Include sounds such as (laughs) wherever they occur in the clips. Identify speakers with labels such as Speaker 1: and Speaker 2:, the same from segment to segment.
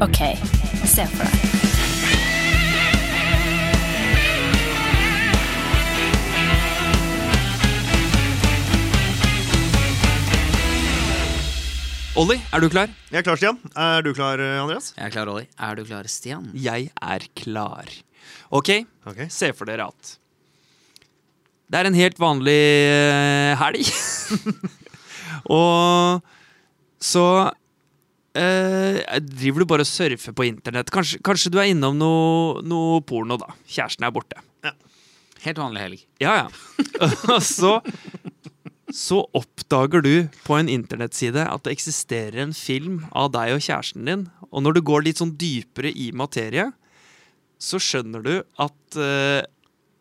Speaker 1: OK, se for deg.
Speaker 2: Olli, er du klar?
Speaker 3: Jeg er klar, Stian. Er du klar, eh, Andreas?
Speaker 2: Jeg er klar, Olli.
Speaker 4: Er du klar, Stian?
Speaker 2: Jeg er klar. Ok,
Speaker 3: Ok.
Speaker 2: se for dere at det er en helt vanlig eh, helg. (laughs) og så eh, driver du bare og surfer på internett. Kanskje, kanskje du er innom noe, noe porno, da. Kjæresten er borte.
Speaker 4: Helt vanlig helg.
Speaker 2: Ja, (laughs) ja. Og så, så oppdager du på en internettside at det eksisterer en film av deg og kjæresten din. Og når du går litt sånn dypere i materie, så skjønner du at eh,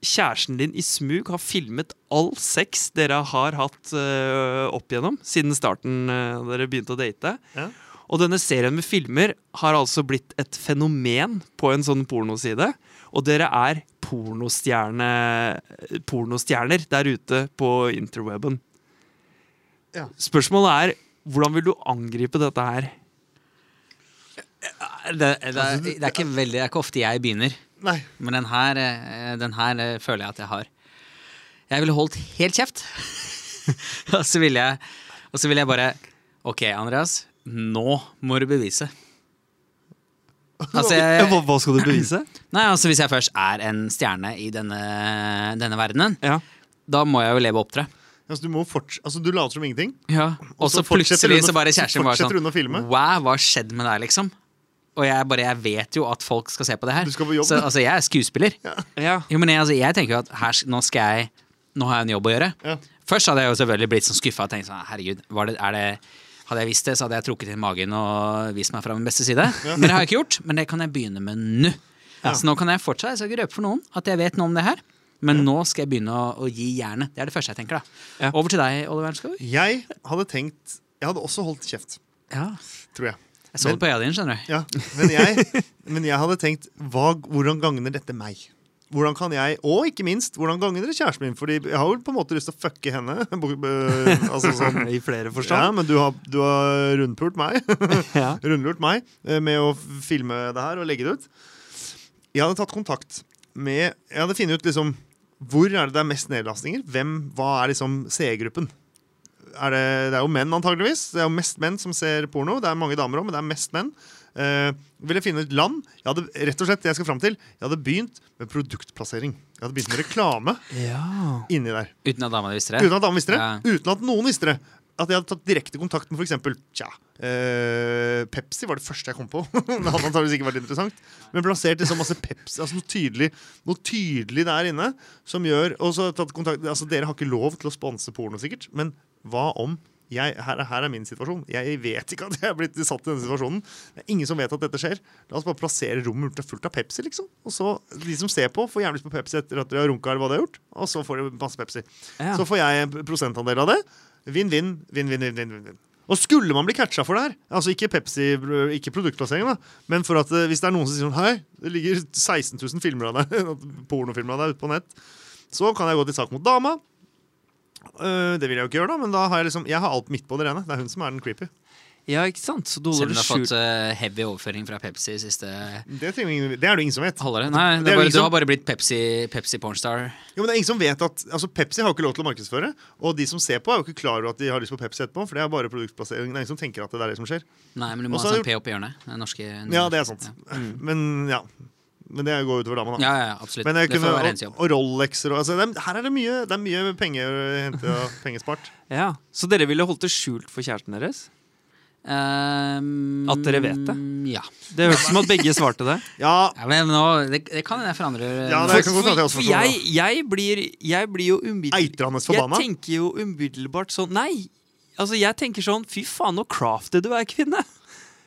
Speaker 2: kjæresten din i smug har filmet all sex dere har hatt eh, opp igjennom siden starten eh, dere begynte å date.
Speaker 3: Ja.
Speaker 2: Og denne serien med filmer har altså blitt et fenomen på en sånn pornoside. Og dere er pornostjerne, eh, pornostjerner der ute på interweben.
Speaker 3: Ja.
Speaker 2: Spørsmålet er hvordan vil du angripe dette her?
Speaker 4: Det, det, er- det, er ikke veldig, det er ikke ofte jeg begynner,
Speaker 3: Nei.
Speaker 4: men den her, eh, den her eh, føler jeg at jeg har. Jeg ville holdt helt kjeft. (laughs) og så ville jeg, og så ville jeg bare Ok, Andreas, nå må du bevise. (laughs) Altså,
Speaker 3: (laughs)
Speaker 4: jeg,
Speaker 2: Hva, hva skal du bevise?
Speaker 4: nei, altså Hvis jeg først er en stjerne i denne, denne verdenen,
Speaker 2: Ja.
Speaker 4: da må jeg jo leve og opptre.
Speaker 3: Altså, du, må forts altså, du later som ingenting.
Speaker 4: Ja, og så
Speaker 3: så fortsetter
Speaker 4: plutselig
Speaker 3: hun å-
Speaker 4: så bare
Speaker 3: så
Speaker 4: kjæresten var
Speaker 3: fortsetter
Speaker 4: sånn
Speaker 3: hun å filme.
Speaker 4: Wow, hva skjedde med deg, liksom? Og jeg bare, jeg vet jo at folk skal se på det her.
Speaker 3: Du skal på jobb.
Speaker 4: Så altså, jeg er skuespiller.
Speaker 2: (clears throat) ja.
Speaker 4: Jo, men jeg, altså, jeg tenker jo at her, sk- nå skal jeg Nå har jeg en jobb å gjøre.
Speaker 3: Ja.
Speaker 4: Først hadde jeg jo selvfølgelig blitt sånn skuffa og tenkt sånn Herregud, var det, er det hadde jeg visst det, så hadde jeg trukket inn magen og vist meg fra min beste side. Men det har jeg ikke gjort, men det kan jeg begynne med nå. Så nå kan jeg fortsatt, jeg skal ikke røpe for noen at jeg vet noe om det her, men nå skal jeg begynne å, å gi jernet. Det er det første jeg tenker, da.
Speaker 2: Ja.
Speaker 4: Over til deg, Oliver Ernskog.
Speaker 3: Jeg hadde tenkt Jeg hadde også holdt kjeft,
Speaker 4: Ja.
Speaker 3: tror jeg.
Speaker 4: Jeg så
Speaker 3: Men-
Speaker 4: det på øya din, skjønner du.
Speaker 3: Ja,
Speaker 4: (laughs)
Speaker 3: men jeg, men jeg hadde tenkt hva, Hvordan gagner dette meg? Hvordan kan jeg, Og ikke minst, hvordan gagner det kjæresten min? Fordi jeg har jo på en måte lyst til å fucke henne. eh, altså sånn
Speaker 2: I flere
Speaker 3: Ja,
Speaker 2: forstand.
Speaker 3: men du har, du har rundpult meg.
Speaker 2: (laughs)
Speaker 3: (laughs)
Speaker 2: Ja.
Speaker 3: Rundlurt meg eh, med å filme det her og legge det ut. Jeg hadde tatt kontakt med Jeg hadde funnet ut liksom hvor er det det er mest nedlastninger. Hvem, Hva er liksom seergruppen? Er det, det er jo menn, antageligvis. Det er jo mest menn som ser porno. Det er mange damer òg, men det er mest menn. Eh, ville finne ut land. Jeg hadde, rett og slett, det jeg skal fram til, jeg hadde begynt med produktplassering. Jeg hadde begynt med reklame
Speaker 2: Ja.
Speaker 3: inni der.
Speaker 4: Uten at dama visste det.
Speaker 3: Uten at damen visste det.
Speaker 4: Ja.
Speaker 3: Uten at noen visste det. At jeg hadde tatt direkte kontakt med f.eks. Tja, eh, Pepsi var det første jeg kom på. (laughs) det hadde antakeligvis ikke vært interessant. Men plassert liksom masse Pepsi, altså noe tydelig, noe tydelig der inne som gjør Og så tatt kontakt Altså, dere har ikke lov til å sponse porno, sikkert, men hva om jeg, her, er- her er min situasjon. Jeg vet ikke at jeg er blitt satt i denne situasjonen. Det er Ingen som vet at dette skjer. La oss bare plassere rommet fullt- fullt av Pepsi, liksom. Og så De som ser på, får gjerne lyst på Pepsi etter at de har runka, eller hva de har gjort. Og så får de masse Pepsi.
Speaker 2: Ja.
Speaker 3: Så får jeg en prosentandel av det. Vinn-vinn, vinn-vinn-vinn. Og skulle man bli catcha for det her, altså ikke Pepsi, ikke produktplassering, da, men for at eh, hvis det er noen som sier sånn Hei, det ligger 16 000 filmer av deg, (laughs) pornofilmer av deg ute på nett, så kan jeg gå til sak mot dama. Eh, det vil jeg jo ikke gjøre, da, men da har jeg liksom Jeg har alt midt på det rene. Det er hun som er den creepy.
Speaker 2: ja, ikke sant? Så
Speaker 4: Selv om
Speaker 2: dollar
Speaker 4: du har fått
Speaker 2: skjult.
Speaker 4: eh, heavy overføring fra Pepsi siste
Speaker 3: Det, trenger ingen, det er det ingen som vet.
Speaker 4: halvåret. Nei,
Speaker 3: Det
Speaker 4: det
Speaker 3: er liksom- jo
Speaker 4: er bare,
Speaker 3: ingen
Speaker 4: du
Speaker 3: som-
Speaker 4: har bare blitt Pepsi, Pepsi pornstar.
Speaker 3: Jo, men det er ingen som vet at altså Pepsi har jo ikke lov til å markedsføre. Og de som ser på, er jo ikke klar over at de har lyst på Pepsi etterpå. For det er bare produktplassering. Det er ingen som tenker at det er det som skjer.
Speaker 4: Nei, men du
Speaker 3: Og
Speaker 4: må
Speaker 3: så
Speaker 4: ha
Speaker 3: har
Speaker 4: sånn
Speaker 3: du-
Speaker 4: P opp i hjørnet. Den norske
Speaker 3: Ja, det er sant.
Speaker 4: Mm,
Speaker 3: Men
Speaker 4: Ja,
Speaker 3: ja Men det går utover dama, da.
Speaker 4: ja, ja absolutt.
Speaker 3: Men jeg
Speaker 4: det
Speaker 3: kunne,
Speaker 4: får være hennes
Speaker 3: og,
Speaker 4: jobb.
Speaker 3: og Rolexer og altså, det, er- Her er det mye, det er mye penger å hente og pengespart.
Speaker 2: Ja. Så dere ville holdt det skjult for kjæresten deres?
Speaker 4: Ehm,
Speaker 2: At dere vet det?
Speaker 4: Ja.
Speaker 2: Det hørtes ut som at begge svarte det.
Speaker 3: Ja,
Speaker 4: ja men nå, det, det kan hende jeg forandrer
Speaker 3: Ja, det kan godt hende at jeg også
Speaker 2: For
Speaker 3: forstår
Speaker 2: jeg,
Speaker 3: det.
Speaker 2: jeg, blir, jeg blir jo umiddelbart
Speaker 3: Eitrende forbanna.
Speaker 2: Jeg tenker jo umiddelbart sånn Nei! Altså, jeg tenker sånn Fy faen, så crafty du er, kvinne!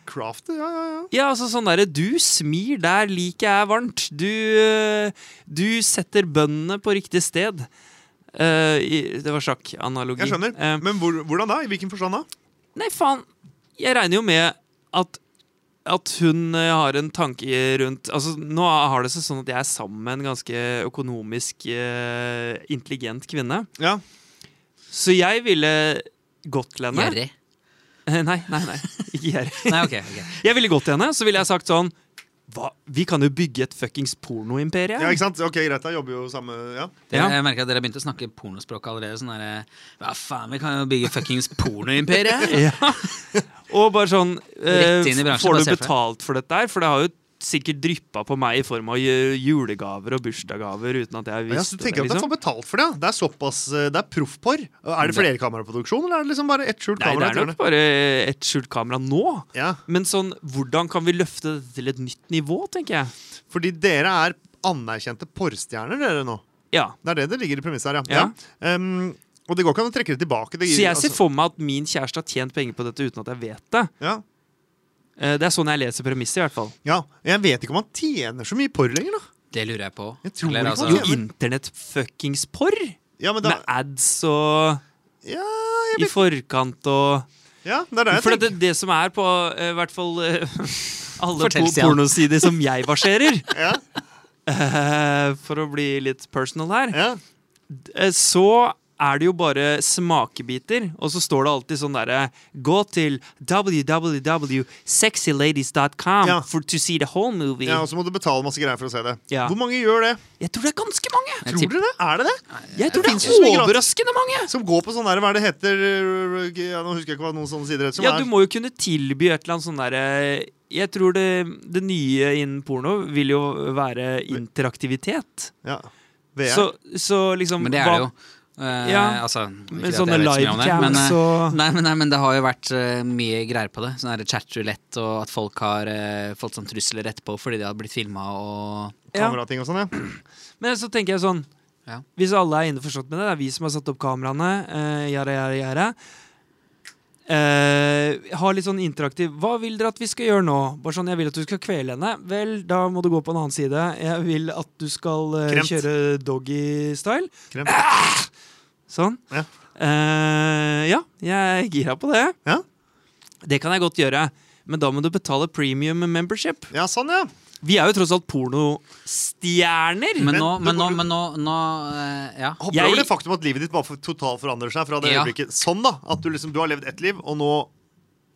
Speaker 3: Craft, ja, ja, ja.
Speaker 2: Ja, altså sånn derre Du smir der liket er varmt. Du, øh, du setter bøndene på riktig sted. Eh, i- det var sjakkanalogi.
Speaker 3: Jeg skjønner.
Speaker 2: Eh,
Speaker 3: Men hvor, hvordan da? I hvilken forstand da?
Speaker 2: Nei, faen. Jeg regner jo med at at hun eh, har en tanke rundt Altså, Nå har det seg sånn at jeg er sammen med en ganske økonomisk eh, intelligent kvinne.
Speaker 3: Ja,
Speaker 2: Så jeg ville gått til henne.
Speaker 4: Gjerrig.
Speaker 2: Eh, Nei, nei, nei. Ikke jeg.
Speaker 4: Nei, ok. ok.
Speaker 2: Jeg ville gått til henne, så ville jeg sagt sånn Hva? Vi kan jo bygge et fuckings pornoimperie.
Speaker 3: Ja, ikke sant? Ok, greit, da jobber jo samme (laughs) ja.
Speaker 4: Dere,
Speaker 2: Ja.
Speaker 4: Jeg merker at dere har begynt å snakke pornospråk allerede. Sånn derre Hva faen, vi kan jo bygge fuckings
Speaker 3: (laughs)
Speaker 4: pornoimperiet!
Speaker 2: (laughs) Ja. Og bare sånn eh,
Speaker 4: Rett inn i bransjen,
Speaker 2: Får
Speaker 4: bare
Speaker 2: du
Speaker 4: se for deg.
Speaker 2: betalt for dette her? For det har jo sikkert dryppa på meg i form av ju- julegaver og bursdagsgaver uten at jeg
Speaker 3: Ja,
Speaker 2: visste
Speaker 3: så du tenker at
Speaker 2: det.
Speaker 3: jeg får
Speaker 2: Liksom.
Speaker 3: betalt for det? ja. Det er såpass, eh, det er proffpor. Er det flerkameraproduksjon, eller er det liksom bare ett skjult
Speaker 2: Nei, det
Speaker 3: kamera?
Speaker 2: er nok
Speaker 3: i hjørnet?
Speaker 2: bare et skjult kamera nå.
Speaker 3: Ja,
Speaker 2: Men sånn, hvordan kan vi løfte det til et nytt nivå, tenker jeg.
Speaker 3: Fordi dere er anerkjente porstjerner, dere nå.
Speaker 2: Ja.
Speaker 3: Det er det det ligger i premisset her, ja.
Speaker 2: Ja.
Speaker 3: ja. Um, og det går ikke an å trekke det tilbake. Det,
Speaker 2: Så jeg ser
Speaker 3: altså,
Speaker 2: for meg at min kjæreste har tjent penger på dette uten at jeg vet det.
Speaker 3: ja.
Speaker 2: Eh, Det er sånn jeg leser premisset, i hvert fall.
Speaker 3: ja, Jeg vet ikke om han tjener så mye porr lenger, da.
Speaker 4: Det lurer jeg på. altså,
Speaker 3: Jeg tror ikke på
Speaker 2: Jo,
Speaker 3: det.
Speaker 2: internett-fuckings-porr!
Speaker 3: Ja, men da,
Speaker 2: Med ads og
Speaker 3: ja, jeg
Speaker 2: i
Speaker 3: vet,
Speaker 2: forkant og
Speaker 3: ja det er det jeg
Speaker 2: For
Speaker 3: tenker.
Speaker 2: det, det som er på eh, hvert fall eh, (laughs) alle
Speaker 4: Fortell,
Speaker 2: po
Speaker 4: Stian.
Speaker 2: pornosider som jeg verserer,
Speaker 3: (laughs) Ja,
Speaker 2: eh, for å bli litt personal her,
Speaker 3: ja.
Speaker 2: eh, så er det jo bare smakebiter, og så står det alltid sånn derre Gå til www.sexyladies.com
Speaker 3: Ja.
Speaker 2: for to see the whole movie.
Speaker 3: ja Og så må du betale masse greier for å se det.
Speaker 2: Ja.
Speaker 3: Hvor mange gjør det?
Speaker 2: Jeg tror det er ganske mange!
Speaker 4: Jeg
Speaker 3: Tror
Speaker 4: tipper-
Speaker 3: dere det? Er det det?
Speaker 2: Jeg tror det
Speaker 3: finnes jo så mye
Speaker 2: er overraskende mange!
Speaker 3: Som går på sånn der, hva er det heter ja, Nå husker jeg ikke hva noen sånne sider heter. Som
Speaker 2: Ja, du
Speaker 3: er,
Speaker 2: må jo kunne tilby et eller annet sånn derre Jeg tror det, det nye innen porno vil jo være interaktivitet.
Speaker 3: ja, VR.
Speaker 2: Så, så liksom
Speaker 4: Men det er
Speaker 2: hva-
Speaker 4: det jo. Eh,
Speaker 2: Ja.
Speaker 4: Altså, ikke
Speaker 2: Med
Speaker 4: at
Speaker 2: sånne
Speaker 4: jeg vet så mye om det, men,
Speaker 2: livecams
Speaker 4: eh,
Speaker 2: og
Speaker 4: Nei, men, nei, men det har jo vært eh, mye greier på det. Sånn her chatrulett og at folk har eh, fått sånn trusler etterpå fordi de har blitt filma og
Speaker 2: ja.
Speaker 3: Kamerating og sånn, ja.
Speaker 2: Men så tenker jeg sånn
Speaker 4: Ja.
Speaker 2: Hvis alle er innforstått med det, det er vi som har satt opp kameraene, eh, jara, jara, jara. Eh, ha litt sånn interaktiv Hva vil dere at vi skal gjøre nå? Bare sånn, Jeg vil at du skal kvele henne. Vel, da må du gå på en annen side. Jeg vil at du skal eh,
Speaker 3: Kremt.
Speaker 2: kjøre doggy-style.
Speaker 3: Kremt.
Speaker 2: (coughs) Sånn.
Speaker 3: Ja.
Speaker 2: Eh, ja, jeg er gira på det.
Speaker 3: Ja.
Speaker 2: Det kan jeg godt gjøre. Men da må du betale premium membership.
Speaker 3: Ja, sånn, ja.
Speaker 2: Vi er jo tross alt pornostjerner.
Speaker 4: Men
Speaker 3: Men
Speaker 4: nå,
Speaker 3: det
Speaker 4: men nå,
Speaker 3: går-
Speaker 4: men nå, nå eh, Ja.
Speaker 3: Hopper
Speaker 2: Jeg-
Speaker 3: over det faktum at livet ditt bare for- totalt forandrer seg fra det
Speaker 4: Ja.
Speaker 3: øyeblikket. Sånn, da. At du liksom, du har levd ett liv, og nå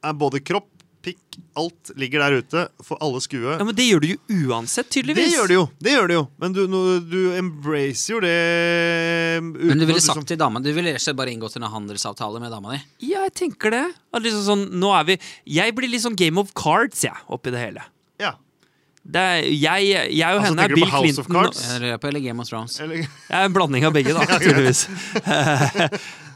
Speaker 3: er både kropp, pikk, alt ligger der ute for alle skue.
Speaker 2: Ja, men Det gjør du jo uansett,
Speaker 3: Det
Speaker 2: tydeligvis.
Speaker 3: gjør det jo, det gjør det jo. men du, nå- du embracer jo det eh, uten
Speaker 4: Men du
Speaker 3: at
Speaker 4: ville
Speaker 3: som-
Speaker 4: sagt til dama Du ville rett og slett bare inngått en handelsavtale med dama di.
Speaker 2: Ja, jeg tenker det. At liksom sånn, nå er vi Jeg blir litt sånn Game of Cards, jeg, oppi det hele.
Speaker 3: Ja.
Speaker 2: Det er, jeg, jeg og
Speaker 3: Altså,
Speaker 2: henne
Speaker 3: tenker
Speaker 2: er
Speaker 3: du
Speaker 2: Bill
Speaker 3: på House of
Speaker 2: Clinton.
Speaker 3: Cards?
Speaker 4: Eller Løpet eller Game of Thrones.
Speaker 3: Eller, (laughs)
Speaker 2: Det er en blanding av begge, da, tydeligvis. (laughs)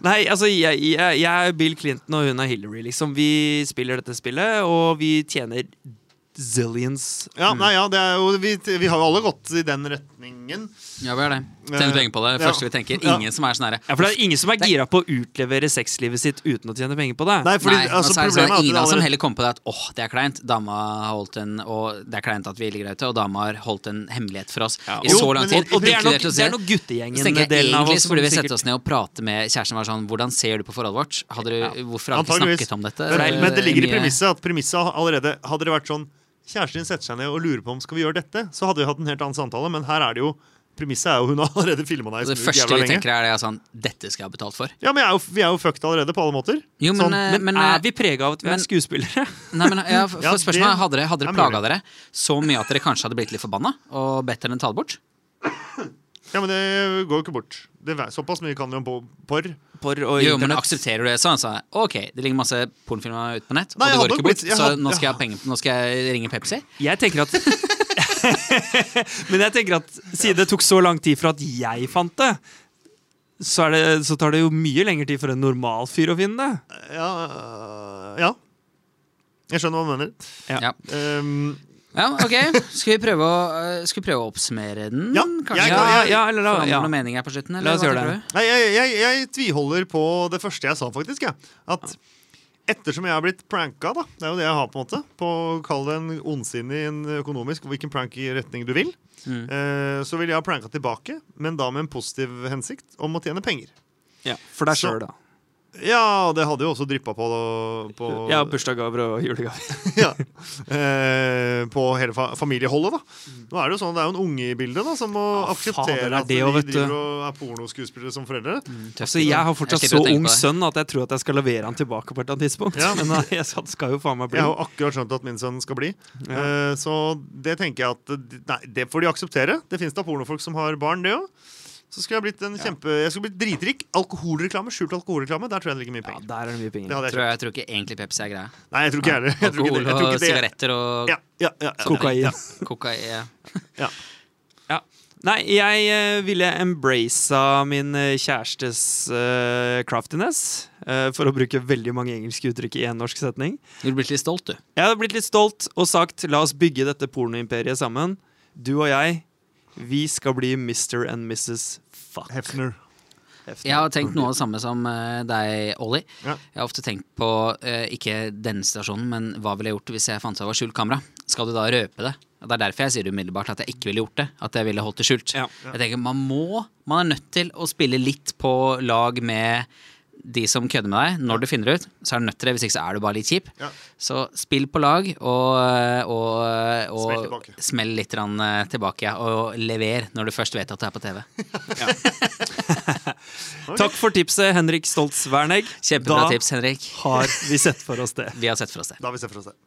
Speaker 2: Nei, altså, jeg, jeg, jeg er Bill Clinton, og hun er Hillary, liksom. Vi spiller dette spillet, og vi tjener zillions.
Speaker 3: ja, nei, ja, det er jo, vi, vi har jo alle gått i den retningen.
Speaker 4: Ja, vi har det. Tjene penger på det.
Speaker 3: Ja.
Speaker 4: Første vi tenker.
Speaker 3: Ja.
Speaker 4: Ingen som er sånn herre
Speaker 2: Ja, For det er ingen som er gira på å utlevere sexlivet sitt uten å tjene penger på det.
Speaker 3: Nei, fordi
Speaker 4: Nei,
Speaker 3: altså,
Speaker 4: og så er
Speaker 3: problemet
Speaker 4: det sånn,
Speaker 3: er at det
Speaker 4: ingen av oss som
Speaker 3: allerede-
Speaker 4: heller kommer på det at åh, det er kleint. Dama har holdt en Og det er kleint at vi ligger ute, og dama har holdt en hemmelighet for oss i
Speaker 3: Jo,
Speaker 4: så lang
Speaker 3: men-
Speaker 4: tid.
Speaker 2: Og det er nok,
Speaker 4: inkludert
Speaker 2: det
Speaker 4: oss selv.
Speaker 2: er nok guttegjengen
Speaker 4: Så tenker jeg
Speaker 2: delen av
Speaker 4: Egentlig
Speaker 2: oss
Speaker 4: så
Speaker 2: som
Speaker 4: burde vi
Speaker 2: sikkert-
Speaker 4: sette oss ned og prate med kjæresten vår sånn Hvordan ser du på forholdet vårt? Hadde du, Hvorfor har vi ikke
Speaker 3: Antageligvis.
Speaker 4: snakket om dette?
Speaker 3: Men,
Speaker 4: Eh,
Speaker 3: men det ligger i
Speaker 4: mye-
Speaker 3: premisset at premisset allerede Hadde det vært sånn Kjæresten din setter seg ned og lurer på om skal vi gjøre dette, så hadde vi hatt en helt annen samtale, men her er det jo Premisset er jo hun (laughs) har allerede filma deg
Speaker 4: Og
Speaker 3: i
Speaker 4: Det
Speaker 3: smug
Speaker 4: første
Speaker 3: jævla
Speaker 4: vi
Speaker 3: lenge.
Speaker 4: tenker, er det er sånn Dette skal jeg ha betalt for.
Speaker 3: Ja, men jeg er jo, Vi er jo fucked allerede, på alle måter.
Speaker 4: Jo, men,
Speaker 3: Sånn,
Speaker 4: eh,
Speaker 2: Men,
Speaker 4: men eh,
Speaker 2: er vi prega av at vi
Speaker 4: men-
Speaker 2: er (laughs) skuespillere?
Speaker 4: (laughs) Nei, men eh, ja, for
Speaker 3: (laughs) Ja,
Speaker 4: for spørsmålet,
Speaker 3: det-
Speaker 4: Hadde dere, hadde dere
Speaker 3: det er
Speaker 4: plaga
Speaker 3: mulig.
Speaker 4: dere så mye at dere kanskje hadde blitt litt forbanna og bedt henne ta det bort?
Speaker 3: Ja, men det går jo ikke bort. Det er såpass mye kan vi om por- porr.
Speaker 2: Porr og
Speaker 4: Jo, men
Speaker 2: internett.
Speaker 4: aksepterer du det sånn? Så, ok, det ligger masse pornofilmer ute på nett,
Speaker 3: Nei, jeg
Speaker 4: og
Speaker 3: hadde jo
Speaker 4: det går ikke bort,
Speaker 3: blitt- jeg
Speaker 4: så
Speaker 3: hadde-
Speaker 4: nå skal jeg, ha penger, nå skal jeg ringe Pepsi?
Speaker 2: Jeg tenker at (laughs) Men jeg tenker at siden det tok så lang tid for at jeg fant det, så, er det, så tar det jo mye lengre tid for en normal fyr å finne det.
Speaker 3: Ja, øh, ja. Jeg skjønner hva du mener.
Speaker 2: Ja.
Speaker 4: Ja.
Speaker 3: Um,
Speaker 4: ja, ok. Skal vi prøve å, eh, skal vi prøve å oppsummere den?
Speaker 3: Ja,
Speaker 4: kanskje?
Speaker 3: jeg-
Speaker 2: Ja,
Speaker 3: jeg-
Speaker 2: ja, eller da,
Speaker 4: Forandre
Speaker 2: Ah, ja.
Speaker 4: noe mening her på slutten? Eller?
Speaker 2: La oss
Speaker 4: hva
Speaker 2: gjøre
Speaker 4: tenker
Speaker 2: det.
Speaker 4: du?
Speaker 3: Nei, jeg, jeg, jeg tviholder på det første jeg sa, faktisk. Jeg. At ettersom jeg har blitt pranka, da, det er jo det jeg har, på en måte, på å kalle det en ondsinnig en økonomisk, hvilken prank i retning du vil,
Speaker 4: Mm.
Speaker 3: eh, så vil jeg ha pranka tilbake, men da med en positiv hensikt om å tjene penger.
Speaker 2: For deg
Speaker 3: Så-
Speaker 2: sjøl, da.
Speaker 3: Ja, det hadde jo også dryppa på,
Speaker 2: (laughs)
Speaker 3: på
Speaker 2: Ja, bursdagsgaver og julegaver.
Speaker 3: (laughs) ja. eh, på hele fa familieholdet, da. Nå er det jo sånn, det er jo en unge i bildet da, som må
Speaker 2: Ja, fader,
Speaker 3: akseptere
Speaker 2: det er
Speaker 3: at
Speaker 2: det
Speaker 3: de
Speaker 2: jo, vet du.
Speaker 3: driver og er pornoskuespillere som foreldre.
Speaker 2: Altså, jeg har fortsatt (laughs)
Speaker 4: Jeg
Speaker 2: så
Speaker 4: sliter å tenke
Speaker 2: ung
Speaker 4: på det.
Speaker 2: sønn at jeg tror at jeg skal levere han tilbake på et eller annet tidspunkt. (laughs)
Speaker 3: Ja.
Speaker 2: Men nei, jeg skal- skal jo faen meg bli.
Speaker 3: Jeg har jo akkurat skjønt at min sønn skal bli. Eh, så det tenker jeg at de- Nei, det får de akseptere. Det fins da pornofolk som har barn, det òg. Så skulle jeg blitt en kjempe Jeg skulle blitt dritrik. Alkoholreklame, Skjult alkoholreklame, der tror jeg det ligger mye
Speaker 2: Ja,
Speaker 3: penger.
Speaker 2: der er det mye
Speaker 3: Det
Speaker 2: penger.
Speaker 3: hadde jeg
Speaker 4: Tror
Speaker 3: kjøpt.
Speaker 4: jeg, jeg tror ikke egentlig Pepsi er greia.
Speaker 3: Nei, jeg tror ikke jeg heller. Jeg tror ikke
Speaker 4: Alkohol
Speaker 3: det- jeg tror
Speaker 4: og
Speaker 3: ikke det.
Speaker 4: sigaretter og
Speaker 3: Ja, ja, ja, ja.
Speaker 2: Kokain.
Speaker 4: kokain.
Speaker 3: Ja.
Speaker 2: Nei, jeg eh, ville embracet min eh, kjærestes eh, craftiness, eh, for å bruke veldig mange engelske uttrykk i en norsk setning.
Speaker 4: Du blir litt stolt, du.
Speaker 2: Jeg hadde blitt litt stolt og sagt la oss bygge dette pornoimperiet sammen. Du og jeg, vi skal bli Mr. and Mrs. Fuck.
Speaker 3: Hefner.
Speaker 2: Hefner.
Speaker 4: Jeg har tenkt noe av det samme som eh, deg, Olli.
Speaker 3: Ja.
Speaker 4: Jeg har ofte tenkt på eh, ikke denne situasjonen, men hva ville jeg gjort hvis jeg fant ut at det var skjult kamera? Skal du da røpe det? Og Det er derfor jeg sier umiddelbart at jeg ikke ville gjort det. At jeg ville holdt det skjult.
Speaker 2: Ja.
Speaker 4: Jeg tenker Man må, man er nødt til å spille litt på lag med de som kødder med deg. Når du finner det ut, så er du nødt til det. Hvis ikke så er du bare litt kjip.
Speaker 3: Ja.
Speaker 4: Så spill på lag, og, og, og
Speaker 3: Smell tilbake.
Speaker 4: smell litt grann, eh, tilbake. Ja, og lever når du først vet at du er på
Speaker 3: (laughs)
Speaker 4: TV.
Speaker 2: Takk for tipset, Henrik Stoltz Wernegg.
Speaker 4: Kjempebra
Speaker 2: Da
Speaker 4: tips, Henrik.
Speaker 2: har vi sett for oss det.
Speaker 4: Vi har sett for oss det.
Speaker 3: Da har vi sett for oss det.